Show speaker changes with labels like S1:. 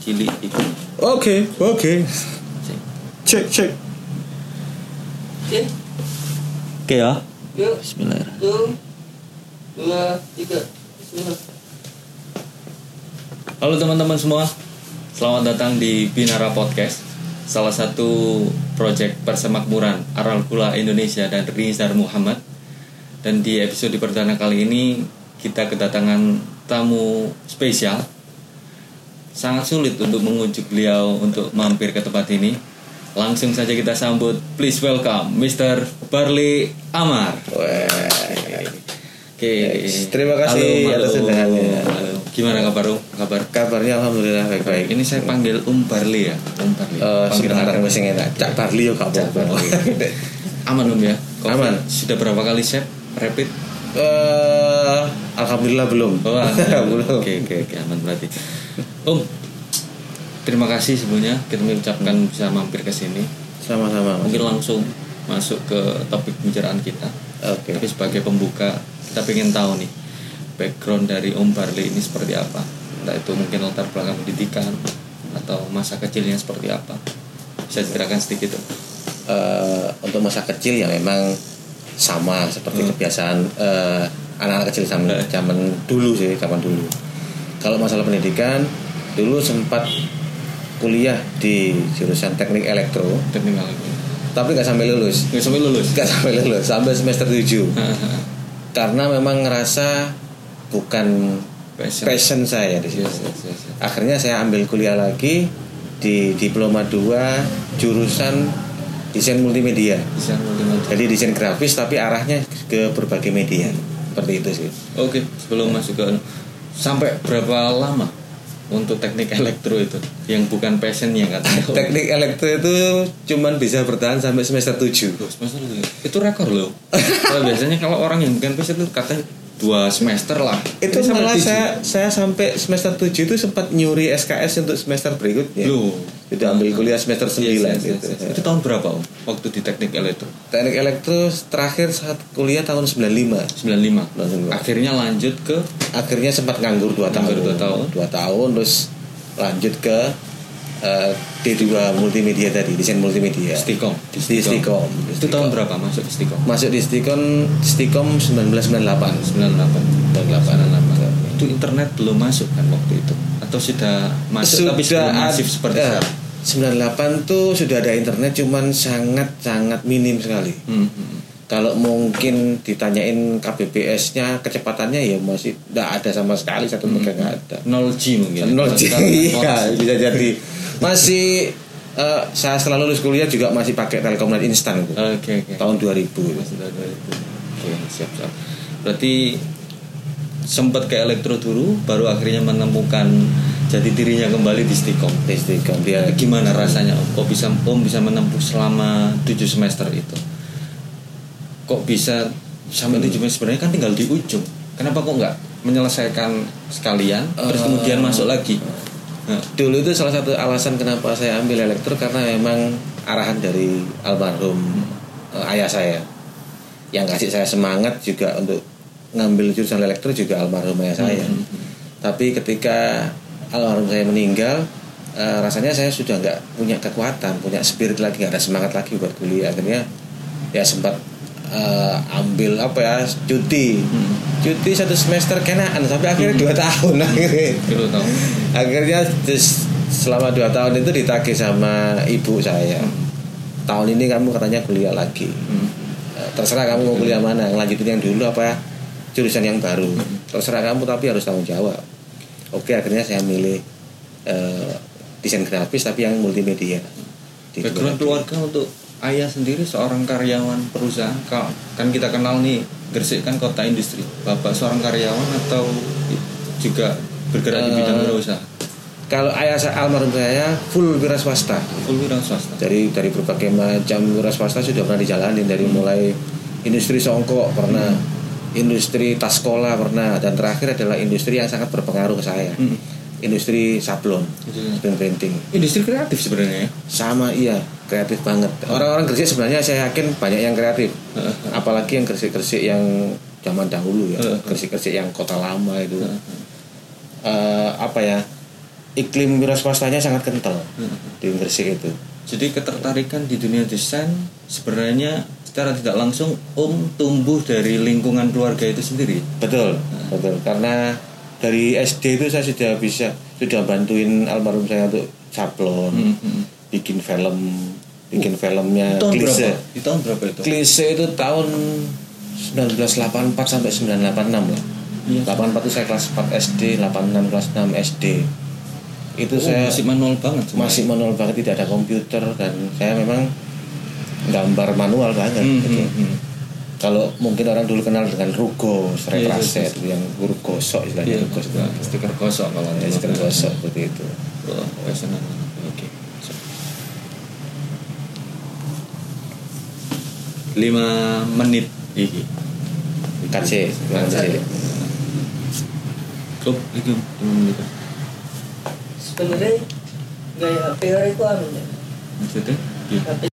S1: cilik iku
S2: Oke, oke.
S1: Cek.
S2: Cek, cek.
S3: Oke,
S1: oke ya
S3: yuk,
S1: Bismillahirrahmanirrahim
S3: satu, dua, tiga. Bismillah.
S1: halo teman-teman semua selamat datang di Binara Podcast salah satu proyek persemakmuran Aral Kula Indonesia dan Rizar Muhammad dan di episode perdana kali ini kita kedatangan tamu spesial sangat sulit untuk mengunjung beliau untuk mampir ke tempat ini langsung saja kita sambut please welcome Mr. Barley Amar
S4: Wah,
S1: Oke.
S4: Yes, terima kasih
S1: Halo,
S4: atas
S1: halo.
S4: undangannya.
S1: Halo. Gimana kabar Om? Kabar?
S4: kabarnya alhamdulillah baik-baik.
S1: Ini saya panggil Um Barli ya. Um Barli.
S4: Eh,
S1: Panggilan
S4: sebenarnya
S1: akrab.
S4: wis enak. Cak Barli yo kabar.
S1: Cak Barli. Aman Om ya.
S4: Aman.
S1: Sudah berapa kali set rapid?
S4: Eh, alhamdulillah belum.
S1: Oh,
S4: belum.
S1: alhamdulillah. Oke, oke, oke, aman berarti. Om, terima kasih sebelumnya kita mengucapkan bisa mampir ke sini.
S4: Sama-sama. Mas.
S1: Mungkin langsung masuk ke topik pembicaraan kita.
S4: Oke.
S1: Tapi sebagai pembuka kita pengen tahu nih background dari Om Barli ini seperti apa. Entah itu mungkin latar belakang pendidikan atau masa kecilnya seperti apa. Bisa ceritakan sedikit Om.
S4: Eh, untuk masa kecil ya memang sama seperti kebiasaan eh, anak-anak kecil zaman
S1: Hmm. Eh.
S4: zaman dulu sih, zaman dulu. Kalau masalah pendidikan, dulu sempat kuliah di jurusan teknik elektro,
S1: Tertinggal ini.
S4: tapi nggak sampai lulus.
S1: Nggak sampai lulus.
S4: Nggak sampai lulus, sampai semester 7 karena memang ngerasa bukan
S1: Passion.
S4: passion saya di situ.
S1: Yes, yes, yes, yes.
S4: Akhirnya saya ambil kuliah lagi di diploma 2 jurusan desain multimedia.
S1: Desain multimedia.
S4: Jadi desain grafis tapi arahnya ke berbagai media. Seperti itu sih.
S1: Oke, sebelum masuk ke anu, sampai berapa lama untuk teknik elektro itu yang bukan passionnya katanya. Om?
S4: Teknik elektro itu cuman bisa bertahan sampai semester 7.
S1: Dua semester itu, ya? itu rekor loh. Kalau biasanya kalau orang yang bukan passion itu katanya dua semester lah.
S4: Itu
S1: Ini sampai
S4: malah
S1: tujuh.
S4: saya saya sampai semester 7 itu sempat nyuri SKS untuk semester berikutnya.
S1: Loh.
S4: Jadi Iya. ambil kuliah semester 9
S1: Iya, iya,
S4: gitu.
S1: iya, iya. Itu tahun berapa om? Waktu di teknik elektro
S4: Teknik elektro terakhir saat kuliah tahun 95
S1: 95
S4: 95.
S1: Akhirnya lanjut ke
S4: Akhirnya sempat nganggur 2 tahun
S1: Nganggur dua tahun.
S4: Dua tahun, terus lanjut ke eh, D2 multimedia tadi Desain multimedia
S1: Stikom
S4: Iya. Di Stikom
S1: Itu tahun berapa masuk ke Stikom?
S4: Masuk di Stikom, Stikom 1998
S1: 98
S4: Iya.
S1: 98 Itu internet belum masuk kan waktu itu? Atau sudah masuk tapi sudah
S4: ad-
S1: masif seperti
S4: eh,
S1: sekarang?
S4: 98 tuh sudah ada internet cuman sangat-sangat minim sekali
S1: Hmm, hmm.
S4: kalau mungkin ditanyain KBPS-nya kecepatannya ya masih nggak ada sama sekali satu meter nggak ada
S1: 0G mungkin
S4: Iya.
S1: ya?
S4: Nol G.
S1: Hmm. Sekarang
S4: Iya,
S1: orang-
S4: bisa jadi. Masih eh, saya setelah lulus kuliah juga masih pakai Telkomnet instan Bu.
S1: Oke oke
S4: tahun 2000.
S1: Masih tahun 2000. Oke siap siap Berarti sempat ke elektro dulu Baru akhirnya menemukan jati dirinya kembali di Stikom
S4: Istiqom dia
S1: Tapi gimana rasanya om? Kok bisa om bisa menempuh selama 7 semester itu? Kok bisa sampai 7 semester sebenarnya kan tinggal di ujung. Kenapa kok nggak menyelesaikan sekalian terus
S4: Eh.
S1: kemudian masuk lagi? Nah,
S4: Dulu itu salah satu alasan kenapa saya ambil elektro karena memang arahan dari almarhum eh, ayah saya yang kasih saya semangat juga untuk ngambil jurusan elektro juga almarhum ayah saya. Tapi ketika almarhum saya meninggal, eh, rasanya saya sudah nggak punya kekuatan, punya spirit lagi, nggak ada semangat lagi buat kuliah. Akhirnya ya sempat eh, ambil apa ya cuti, cuti satu semester kenaan sampai akhirnya dua tahun akhirnya
S1: itu tahu.
S4: akhirnya just selama dua tahun itu ditagih sama ibu saya tahun ini kamu katanya kuliah lagi
S1: Hmm.
S4: Eh, terserah kamu mau kuliah mana lanjutin yang dulu apa jurusan yang baru terserah kamu tapi harus tanggung jawab oke akhirnya saya milih eh, desain grafis tapi yang multimedia Di
S1: Background keluarga untuk ayah sendiri seorang karyawan perusahaan. Kalau kan kita kenal nih Gresik kan kota industri. Bapak seorang karyawan atau juga bergerak di
S4: Eh.
S1: bidang usaha?
S4: kalau ayah saya almarhum saya full wira swasta
S1: Full bidang swasta.
S4: dari dari berbagai macam wira swasta sudah pernah dijalanin dari mulai industri songkok pernah industri tas sekolah pernah dan terakhir adalah industri yang sangat berpengaruh ke saya
S1: Hmm.
S4: industri sablon
S1: Industri-
S4: sablon painting
S1: Industri kreatif sebenarnya ya.
S4: sama iya kreatif banget orang-orang Gresik sebenarnya saya yakin banyak yang kreatif
S1: Heeh.
S4: apalagi yang Gresik-Gresik yang zaman dahulu ya
S1: Heeh. Hmm.
S4: Gresik-Gresik yang kota lama itu Eh, apa ya iklim wira swastanya sangat kental di Gresik itu.
S1: Jadi ketertarikan di dunia desain sebenarnya secara tidak langsung Om tumbuh dari lingkungan keluarga itu sendiri.
S4: Betul, betul. Karena dari SD itu saya sudah bisa sudah bantuin almarhum saya untuk sablon,
S1: Hmm, hmm.
S4: bikin film, bikin filmnya
S1: Tahun berapa?
S4: klise.
S1: Di tahun berapa itu?
S4: Klise itu tahun 1984 sampai 1986 lah.
S1: Iya.
S4: 84 itu saya kelas 4 SD, 86 kelas 6 SD.
S1: Oh,
S4: Itu saya
S1: masih manual banget. sebenarnya.
S4: masih manual banget tidak ada komputer dan saya memang gambar manual banget
S1: Hmm,
S4: gitu.
S1: hmm, hmm.
S4: Kalau mungkin orang dulu kenal dengan rugo,
S1: Iya, iya,
S4: seret raset yang huruf gosok
S1: Iya,
S4: istilahnya rugo itu.
S1: nah, stiker gosok kalau
S4: Ya,
S1: nggak
S4: stiker
S1: salah.
S4: gosok seperti itu.
S1: Oh, fashionable. Oke. Lima menit iki.
S4: KC, KC.
S1: Klub iki lima menit.
S3: sebenarnya gaya PR itu anu ya
S1: Maksudnya? Iya.
S3: tapi